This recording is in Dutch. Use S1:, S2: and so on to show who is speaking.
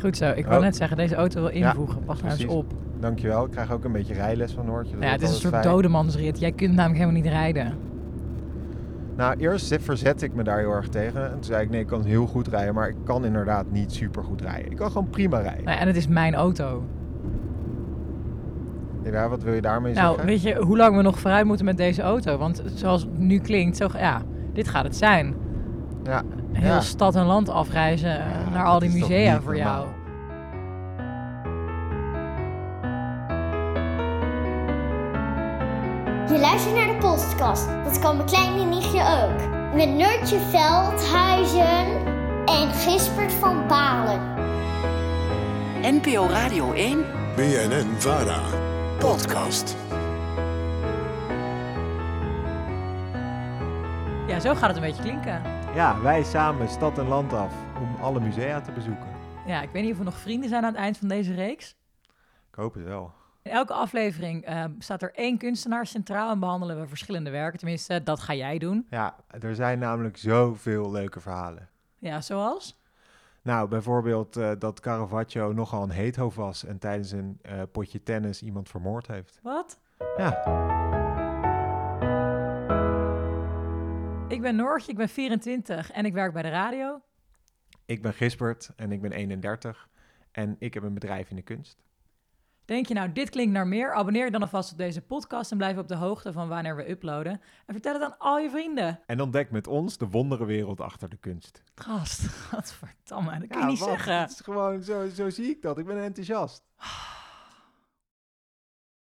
S1: Goed zo. Ik wou
S2: Oh.
S1: net zeggen, deze auto wil invoegen. Pas nou eens
S2: precies.
S1: op.
S2: Dankjewel. Ik krijg ook een beetje rijles van Noortje. Dat
S1: Nou ja, het
S2: wordt
S1: is een soort
S2: altijd fijn.
S1: dodemansrit. Jij kunt namelijk helemaal niet rijden.
S2: Nou, eerst zit- verzette ik me daar heel erg tegen. En toen zei ik, nee, ik kan heel goed rijden, maar ik kan inderdaad niet super goed rijden. Ik kan gewoon prima rijden.
S1: Nou, en het is mijn auto.
S2: Ja, wat wil je daarmee
S1: Nou,
S2: zeggen?
S1: weet je hoe lang we nog vooruit moeten met deze auto? Want zoals het nu klinkt, zo, ja, dit gaat het zijn.
S2: Ja,
S1: Heel
S2: ja.
S1: stad en land afreizen eh,
S2: Ja,
S1: naar al
S2: dat
S1: die
S2: is toch
S1: musea
S2: niet
S1: voor
S2: normaal?
S1: jou.
S3: Je luistert naar de podcast. Dat kan mijn kleine nichtje ook. Met Noortje Veldhuizen en Gispert van Balen.
S4: NPO Radio 1
S5: BNN Vara. Podcast.
S1: Ja, zo gaat het een beetje klinken.
S2: ja, wij samen stad en land af om alle musea te bezoeken.
S1: Ja, ik weet niet of er nog vrienden zijn aan het eind van deze reeks.
S2: Ik hoop het wel.
S1: In elke aflevering eh, staat er één kunstenaar centraal en behandelen we verschillende werken. Tenminste, dat ga jij doen.
S2: Ja, er zijn namelijk zoveel leuke verhalen.
S1: Ja, zoals?
S2: Nou, bijvoorbeeld eh, dat Caravaggio nogal een heethoofd was en tijdens een eh, potje tennis iemand vermoord heeft.
S1: Wat?
S2: Ja,
S1: Ik ben Noortje, ik ben 24 en ik werk bij de radio.
S2: ik ben Gisbert en ik ben 31 en ik heb een bedrijf in de kunst.
S1: Denk je nou, dit klinkt naar meer? Abonneer je dan alvast op deze podcast en blijf op de hoogte van wanneer we uploaden. En vertel het aan al je vrienden.
S2: En ontdek met ons de wonderenwereld achter de kunst.
S1: Gast, godverdamme, dat kun je niet
S2: wat?
S1: zeggen.
S2: Het is gewoon, zo, zo zie ik dat. Ik ben enthousiast.